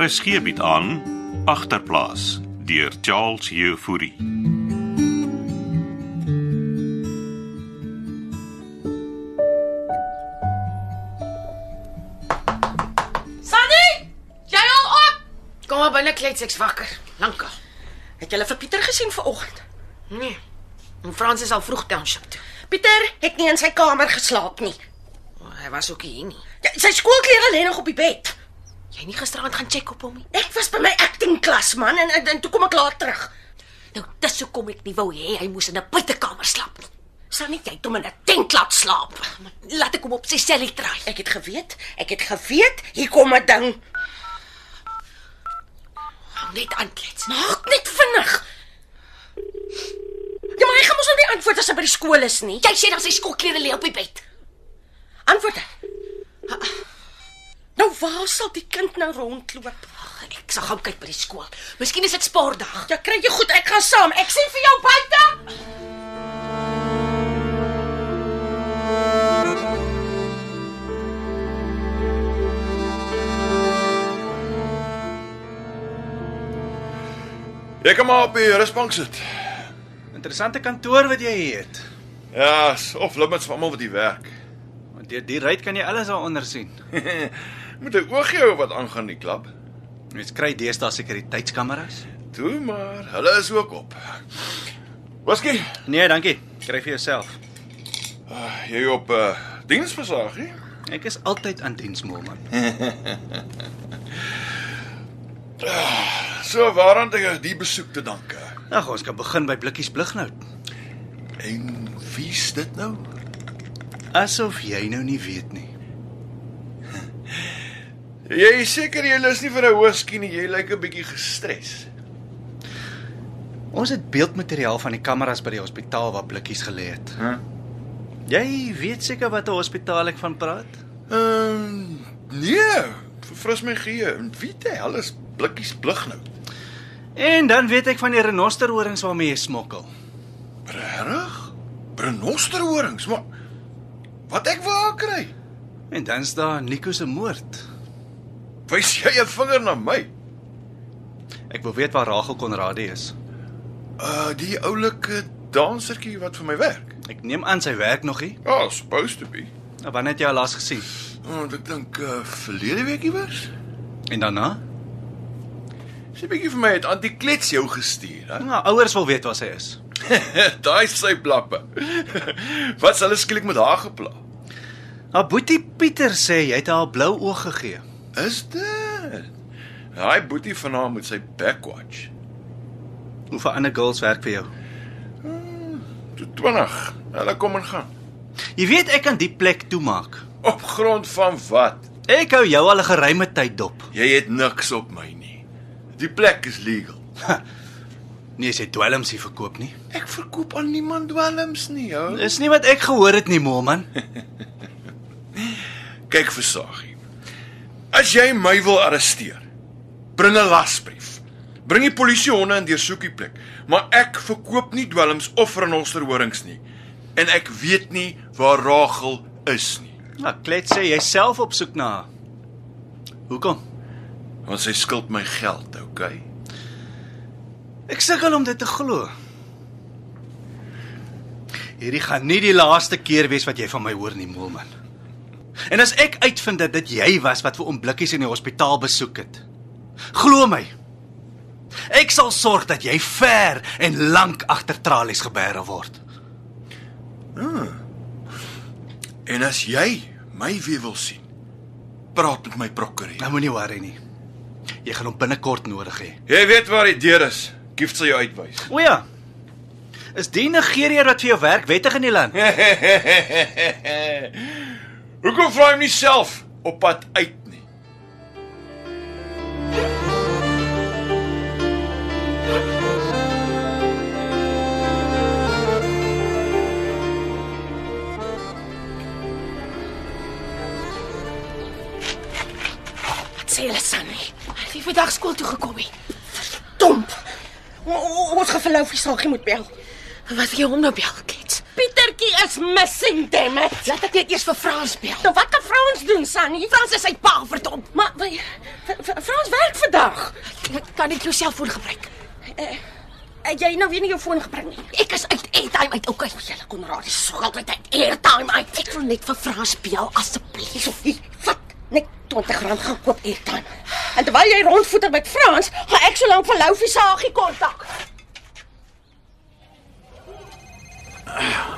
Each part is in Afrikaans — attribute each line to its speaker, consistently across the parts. Speaker 1: RSG bied Er aan agterplaas deur Charles Jefouri.
Speaker 2: Sunny, jy al op?
Speaker 3: Kom maar binne klets ek's wakker. Lankal.
Speaker 2: Het jy hulle vir Pieter gesien vanoggend?
Speaker 3: Nee. En Frans is al vroeg township toe.
Speaker 2: Pieter het nie in sy kamer geslaap nie.
Speaker 3: Oh, Hy was ook nie hier nie.
Speaker 2: Ja, Sy skoolklere lê nog op die bed.
Speaker 3: Jy het nie gisteraand gaan check op hom nie.
Speaker 2: Ek was by my acting klas man en, en, en toe kom ek laat terug.
Speaker 3: Nou dis hoekom ek nie wou hê hy moes in 'n buitekamer slaap nie.
Speaker 2: Sunny, jy het hom in 'n tent laat slaap.
Speaker 3: Maar Laat ek hom op sy sellie try.
Speaker 2: Ek het geweet, ek het geweet hier kom 'n ding.
Speaker 3: Hou net aan klets.
Speaker 2: Maak net vinnig. Ja, maar hy gaan mos nog nie antwoord as hy by die skool is nie.
Speaker 3: Jy sê dan sy skoolklere lê op die bed.
Speaker 2: Antwoord hy. Nou waar sal die kind nou rondloop?
Speaker 3: Ag, ek sal gaan kyk by die skool. Miskien is dit spaardag.
Speaker 2: Ja, kry jy goed, ek gaan saam. Ek sê vir jou buite.
Speaker 4: Jy kan maar op die rusbank sit.
Speaker 5: Interessante kantoor wat jy hier het.
Speaker 4: Ja, is of limits vir almal wat hier werk.
Speaker 5: Want deur die ruit kan jy alles daaronder sien.
Speaker 4: Moet 'n oogie hou wat aangaan in die klub.
Speaker 5: Mens kry deesdae sekuriteitskameras.
Speaker 4: Toe maar, hulle is ook op. Waskie,
Speaker 5: Nee, dankie. Kry vir jouself.
Speaker 4: jy op uh, diensversaag, hè?
Speaker 5: Ek is altyd aan diens, Moelman.
Speaker 4: So waaraan ek die besoek te danke.
Speaker 5: Ag, ons kan begin by blikkies blighnout.
Speaker 4: En wie's dit nou?
Speaker 5: Asof jy nou nie weet nie.
Speaker 4: Jy is seker jy lus nie vir 'n whisky nie. Jy lyk 'n bietjie gestres.
Speaker 5: Ons het beeldmateriaal van die kameras by die hospitaal waar blikkies gelê het.
Speaker 4: Hæ?
Speaker 5: Jy weet seker wat 'n hospitaal ek van praat?
Speaker 4: Ehm nee, verfris my geheue. En Wie te hel is blikkies blig nou?
Speaker 5: En dan weet ek van die renosterhorings waarmee jy smokkel.
Speaker 4: Regtig? Brenosterhorings, maar wat ek wou kry.
Speaker 5: En dan's daar Nico se moord.
Speaker 4: Wys jy 'n vinger na my?
Speaker 5: Ek wil weet waar Rachel Konradi is.
Speaker 4: Uh die oulike dansertjie wat vir my werk.
Speaker 5: Ek neem aan sy werk nog nie.
Speaker 4: Ja, oh, supposed to be.
Speaker 5: Nou, Wanneer het jy haar laas gesien?
Speaker 4: Want ek dink uh verlede week iewers.
Speaker 5: En daarna?
Speaker 4: Sy bietjie vir my het antiklets jou gestuur, hè?
Speaker 5: Nou, ouers wil weet waar sy is.
Speaker 4: Daai sy blappe. wat sal hulle skielik met haar gepla?
Speaker 5: Haar boetie Pieter sê jy het haar blou oog gegee.
Speaker 4: Is dit? Daai boetie van haar met sy backwatch.
Speaker 5: Hoeveel ander girls werk vir jou?
Speaker 4: Toe 20. Hulle kom en gaan.
Speaker 5: Jy weet ek kan die plek toemaak.
Speaker 4: Op grond van wat?
Speaker 5: Ek hou jou al 'n geruime tyd dop.
Speaker 4: Jy het niks op my nie. Die plek is legal.
Speaker 5: Nee, sy dwelms hier verkoop nie.
Speaker 4: Ek verkoop aan niemand dwelms nie, ou.
Speaker 5: Dis nie wat ek gehoor het nie, Moelman.
Speaker 4: Kyk vir Saggie. As jy my wil arresteer, bring 'n lasbrief. Bring die polisie honde en deursoek die plek. Maar ek verkoop nie dwelms of renosterhorings nie. En ek weet nie waar Rachel is nie.
Speaker 5: Nou, klets sê jy self op soek na haar. Hoekom?
Speaker 4: Want sy skuld my geld, okay?
Speaker 5: Ek sukkel om dit te glo. Hierdie gaan nie die laaste keer wees wat jy van my hoor nie, Moelman. En as ek uitvind dat dit jy was wat vir oomblikkies in die hospitaal besoek het, glo my. Ek sal sorg dat jy ver en lank agter tralies gebeere word.
Speaker 4: En as jy my weer wil sien, praat met my prokureur.
Speaker 5: Nou moenie worry nie. Jy gaan hom binnekort nodig hê.
Speaker 4: Jy weet waar die deur is. Gift sal jou uitwys.
Speaker 5: O ja. Is die Nigeriër wat vir jou werk wettig in die land?
Speaker 4: Hoekom vra hom nie self op pad uit nie?
Speaker 2: Wat sê hulle Sunny?
Speaker 3: Hy het vandag skool toe gekom hê.
Speaker 2: Domp. O- o- Ons geverlou vir Saggie moet bel.
Speaker 3: Wat wil jy hom nou bel, klets?
Speaker 2: Pieter Jantjie is missing, damn it.
Speaker 3: Laat ek net eers vir Frans bel.
Speaker 2: Nou wat kan Frans doen, Sunny?
Speaker 3: Frans is sy pa verdom.
Speaker 2: Maar w- w- Frans werk vandag.
Speaker 3: Ek kan net jou selfoon gebruik.
Speaker 2: Het jy nou weer nie jou foon gebring nie?
Speaker 3: Ek is uit airtime uit. Okay,
Speaker 2: Julle Konrad is so altyd uit airtime uit.
Speaker 3: ek wil net vir Frans bel asseblief.
Speaker 2: Hierso, hier, vat net R20 gaan koop airtime. En terwyl jy rondvoeter met Frans, gaan ek so lank vir Loufie Sagie kontak.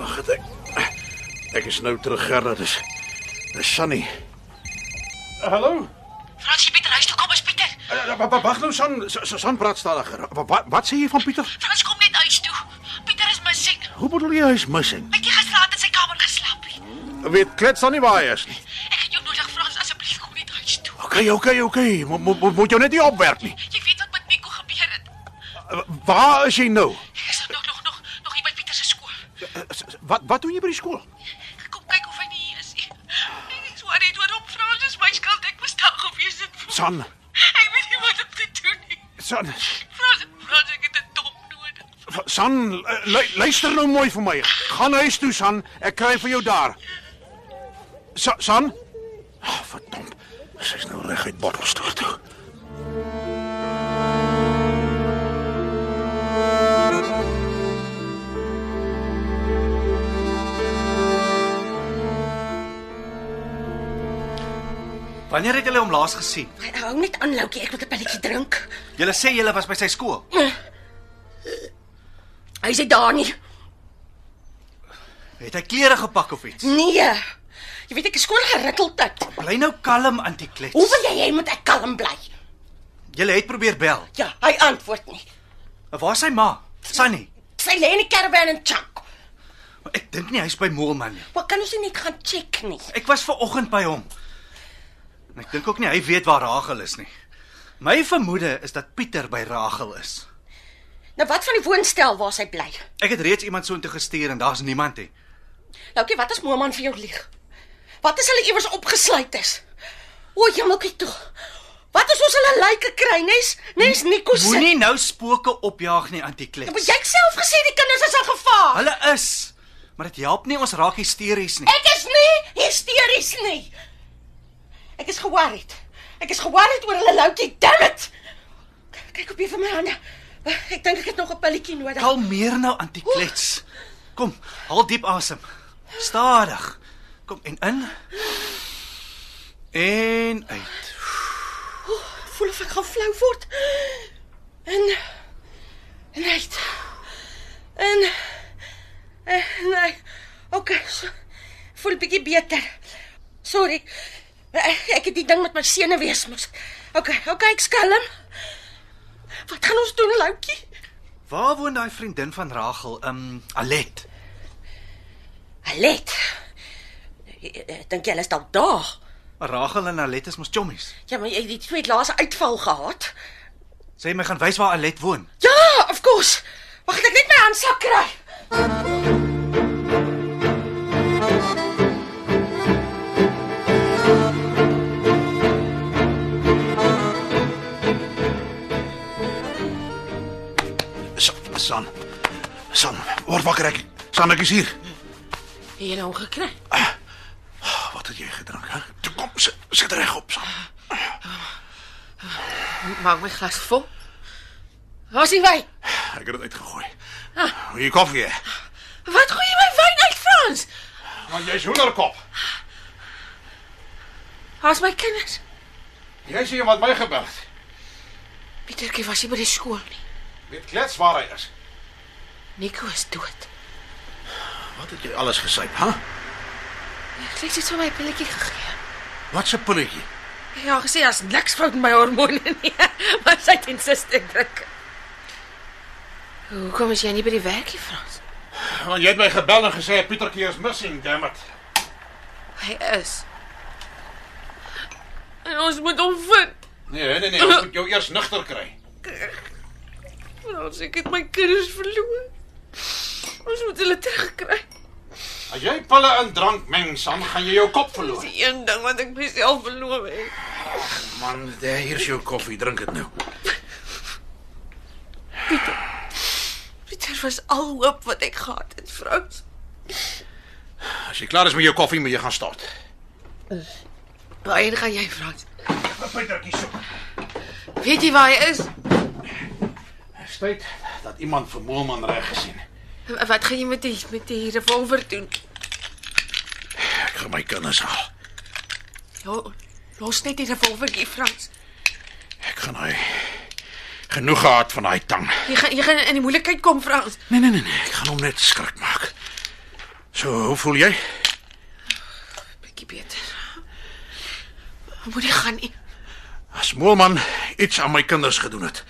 Speaker 6: Wag, het ek ek is nou terug Gerda, dis dis Sunny. Eh, Hallo.
Speaker 3: Fransie Pieter, huis toe kom ons Pieter.
Speaker 6: Wag nou San San- San praat stadiger. Wa- Wat wat sê jy van Pieter?
Speaker 3: Frans kom net huis toe. Pieter is missing.
Speaker 6: Hoe bedoel jy hy's missing?
Speaker 3: Ek het gisteraand in sy kamer geslaap. Piet.
Speaker 6: Weet klets dan nie waar hy is nie.
Speaker 3: Ek het jou nodig, Frans, asseblief kom net huis toe.
Speaker 6: Okay, okay, okay. Mo- mo- mo- Moet jou net nie opwerk nie.
Speaker 3: Jy weet wat met Nico gebeur het.
Speaker 6: Wa- Waar is jy nou?
Speaker 3: Ek is nog nog nog nog hier by Pieter se skool.
Speaker 6: Eh, s- s- Wat wat doen jy by die skool?
Speaker 3: Ek kom kyk of hy nie hier is nie. Ek is worried oor hom, Frans, is my skuld. Ek moes daar gewees het.
Speaker 6: San.
Speaker 3: Ek weet nie wat om te doen nie.
Speaker 6: San,
Speaker 3: Frans, Frans, ek het 'n dop nodig.
Speaker 6: San, eh, lu- luister nou mooi vir my. Gaan huis toe, San. Ek kry vir jou daar. Sa- San? Oh, verdomp. Sy's nou reguit bottels toe toe.
Speaker 5: Wanneer het julle hom laas gesien?
Speaker 2: Hou net aan, Loutjie, ek moet 'n pilletjie drink.
Speaker 5: Julle sê julle was by sy skool.
Speaker 2: Hy sê daar nie.
Speaker 5: Het hy klere gepak of iets?
Speaker 2: Nee. Jy weet ek is skoon gerikkel dit.
Speaker 5: Bly nou kalm, Antie Klets.
Speaker 2: Hoe wil jy hê moet ek kalm bly?
Speaker 5: Julle het probeer bel.
Speaker 2: Ja, hy antwoord nie.
Speaker 5: Waar is sy ma? Sunny.
Speaker 2: Sy lê in die karavaan en chak.
Speaker 5: Ek dink nie hy's by Moelman nie.
Speaker 2: Wat kan ons nie net gaan check nie?
Speaker 5: Ek was ver oggend by hom. En ek dink ook nie hy weet waar Ragel is nie. My vermoede is dat Pieter by Ragel is.
Speaker 2: Nou wat van die woonstel waar sy bly?
Speaker 5: Ek het reeds iemand soontoe gestuur en daar's niemand nie.
Speaker 2: Loukie, Nou, wat as Moman vir jou lieg? Wat as hulle iewers opgesluit is? O, jammerkie toe. Wat as ons hulle lyke kry, nes? Nes Nico se.
Speaker 5: Moenie nou spooke opjaag nie, Antie
Speaker 2: Ja, Maar
Speaker 5: Klets.
Speaker 2: jy het self gesê die kinders is in gevaar.
Speaker 5: Hulle is, maar dit help nie ons raak hysteries nie.
Speaker 2: Ek is nie hysteries nie. Ek is geworried. Ek is geworried oor hulle Loukie, damn it. K- Kyk op hier vir my hande. Ek dink ek het nog 'n pilletjie nodig.
Speaker 5: Kalmeer nou, Antie Klets. Kom, haal diep asem. Stadig. Kom en in. En uit.
Speaker 2: voel of ek gaan flou word. En en uit. En en nee. Okay. So, voel bietjie beter. Sorry. Ek, ek het die ding met my sene wees mos. Okay, okay, ek skelm. Wat gaan ons doen, Loutjie?
Speaker 5: Waar woon daai vriendin van Ragel? Ehm, um, Alet.
Speaker 2: Alet. Dink jy hulle is dalk daar?
Speaker 5: Ragel en Alet is mos chommies.
Speaker 2: Ja, maar jy het die twee laaste uitval gehad.
Speaker 5: Sê my gaan wys waar Alet woon.
Speaker 2: Ja, of course. Wag, ek net my handsak kry.
Speaker 6: Sa- San. San, word wakker ek. San, ek is hier.
Speaker 3: Het jy hom nou gekry?
Speaker 6: Ah, Wat het jy gedrink, hè? Toe kom, sit, sit reg op, San.
Speaker 3: Maak my glas vol. Waar's die wyn?
Speaker 6: Ek het dit uitgegooi. Hoe jy koffie? hè?
Speaker 3: Wat gooi jy my wyn uit, Frans?
Speaker 6: Want jy's hoenderkop.
Speaker 3: Waar's my kinders?
Speaker 6: Jy sien wat my gebeur het.
Speaker 3: Pietertjie was nie by die skool nie.
Speaker 6: Weet klets waar hy is.
Speaker 3: Nico is dood.
Speaker 6: Wat het jy alles gesyp, hè?
Speaker 3: Ek het iets vir my pilletjie gegee.
Speaker 6: Wat se pilletjie?
Speaker 3: Ja, gesê as niks fout met my hormone nie, maar sy het insisteer druk. Hoekom is jy nie by die werkie, Frans?
Speaker 6: Ja, Want jy het my gebel en gesê Pietertjie is missing, damn it.
Speaker 3: Hy is. En ons moet hom vind.
Speaker 6: Nee, nee, nee, ons moet jou eers nugter kry.
Speaker 3: Frans, ek het my kinders verloor. Ons moet hulle terugkry.
Speaker 6: As jy pille en drank meng, dan gaan jy jou kop verloor.
Speaker 3: Die een ding wat ek myself beloof het.
Speaker 6: Man, daar hier's jou koffie, drink dit nou.
Speaker 3: Pieter was al hoop wat ek gehad het, Frans.
Speaker 6: As jy klaar is met jou koffie, moet jy gaan stort.
Speaker 2: Waarheen gaan jy, Frans?
Speaker 6: 'n Pytertjie soek.
Speaker 2: Weet jy waar hy is?
Speaker 6: Spyt dat iemand vir Moelman reg gesien het.
Speaker 2: Wat gaan jy met die met die revolver doen?
Speaker 6: Ek gaan my kinders haal.
Speaker 2: Jo, los net die revolver hier, Frans.
Speaker 6: Ek gaan hy genoeg gehad van daai tang.
Speaker 2: Jy gaan jy gaan in die moeilikheid kom, Frans.
Speaker 6: Nee nee nee nee, ek gaan hom net skrik maak. So, hoe voel jy?
Speaker 2: Bietjie beter. Moet jy gaan nie.
Speaker 6: As Moelman iets aan my kinders gedoen het.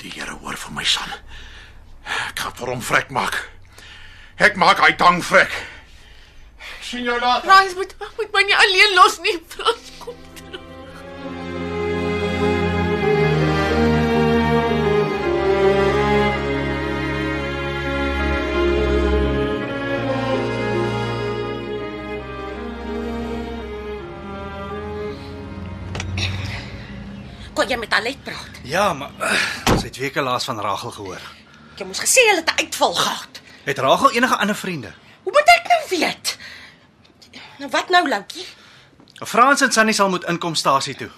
Speaker 6: Die Here hoor vir my son. Ek gaan vir hom vrek maak. Ek maak hy tang vrek. sien jou later.
Speaker 2: Frans moet moet my nie alleen los nie, Frans. Kom terug. Kon jy met Alet praat?
Speaker 5: Ja, maar uh, sy het weke laas van Rachel gehoor.
Speaker 2: Jy moes gesê hulle het 'n uitval gehad.
Speaker 5: Het Rachel enige ander vriende?
Speaker 2: Hoe moet ek nou weet? Nou wat nou, Loukie?
Speaker 5: Frans en Sunny sal moet inkomstasie toe.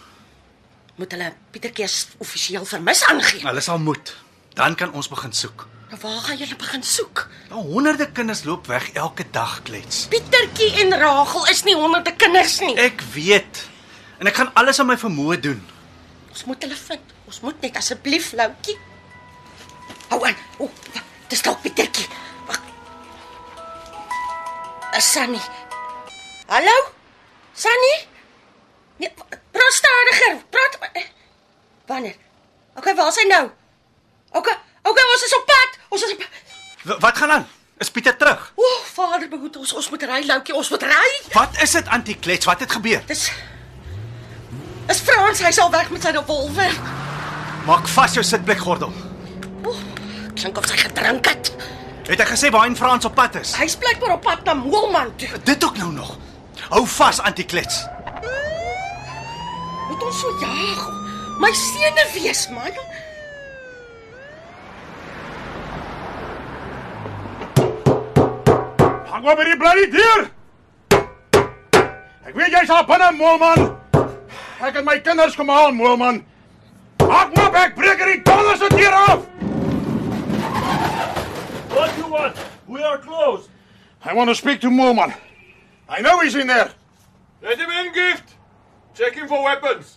Speaker 2: Moet hulle Pietertjie offisieel vermis aangee?
Speaker 5: Hulle sal moet. Dan kan ons begin soek.
Speaker 2: Nou waar gaan julle begin soek?
Speaker 5: Nou honderde kinders loop weg elke dag klets.
Speaker 2: Pietertjie en Rachel is nie honderde kinders nie.
Speaker 5: Ek weet. En ek gaan alles aan my vermoë doen.
Speaker 2: Ons moet hulle vind. Ons moet net asseblief, Loukie. Hou aan. O, wa- dis dalk Pietertjie. Wag. Is Sunny. Hallo? Sunny? Nee, wa- praat stadiger. Praat eh, Wanneer? Okay, waar is hy nou? Okay, okay, ons is op pad. Ons is op pad.
Speaker 5: W wat gaan aan? Is Pieter terug?
Speaker 2: O, Vader behoed ons. Ons moet ry, Loukie. Ons moet ry.
Speaker 5: Wat is dit antie klets? Wat het gebeur?
Speaker 2: Dis Is Frans, hy's al weg met sy revolver.
Speaker 5: Maak vas jou sitplekgordel.
Speaker 2: O, klink of sy gedrink het.
Speaker 5: Het hy gesê waarheen Frans op pad is?
Speaker 2: Hy's blykbaar op pad na Moelman toe.
Speaker 5: Dit ook nou nog. Hou vas antie klets.
Speaker 2: Moet ons so jaag. My seune wees, man.
Speaker 6: Hang op by die bloody deur. Ek weet jy's al binne, Moelman. Ek het my kinders kom haal, Moelman. Hak op, ek breek hierdie donder se deur af.
Speaker 7: What do you want? We are closed.
Speaker 6: I want to speak to Moelman. I know he's in there.
Speaker 7: Let him in, Gift. Check him for weapons.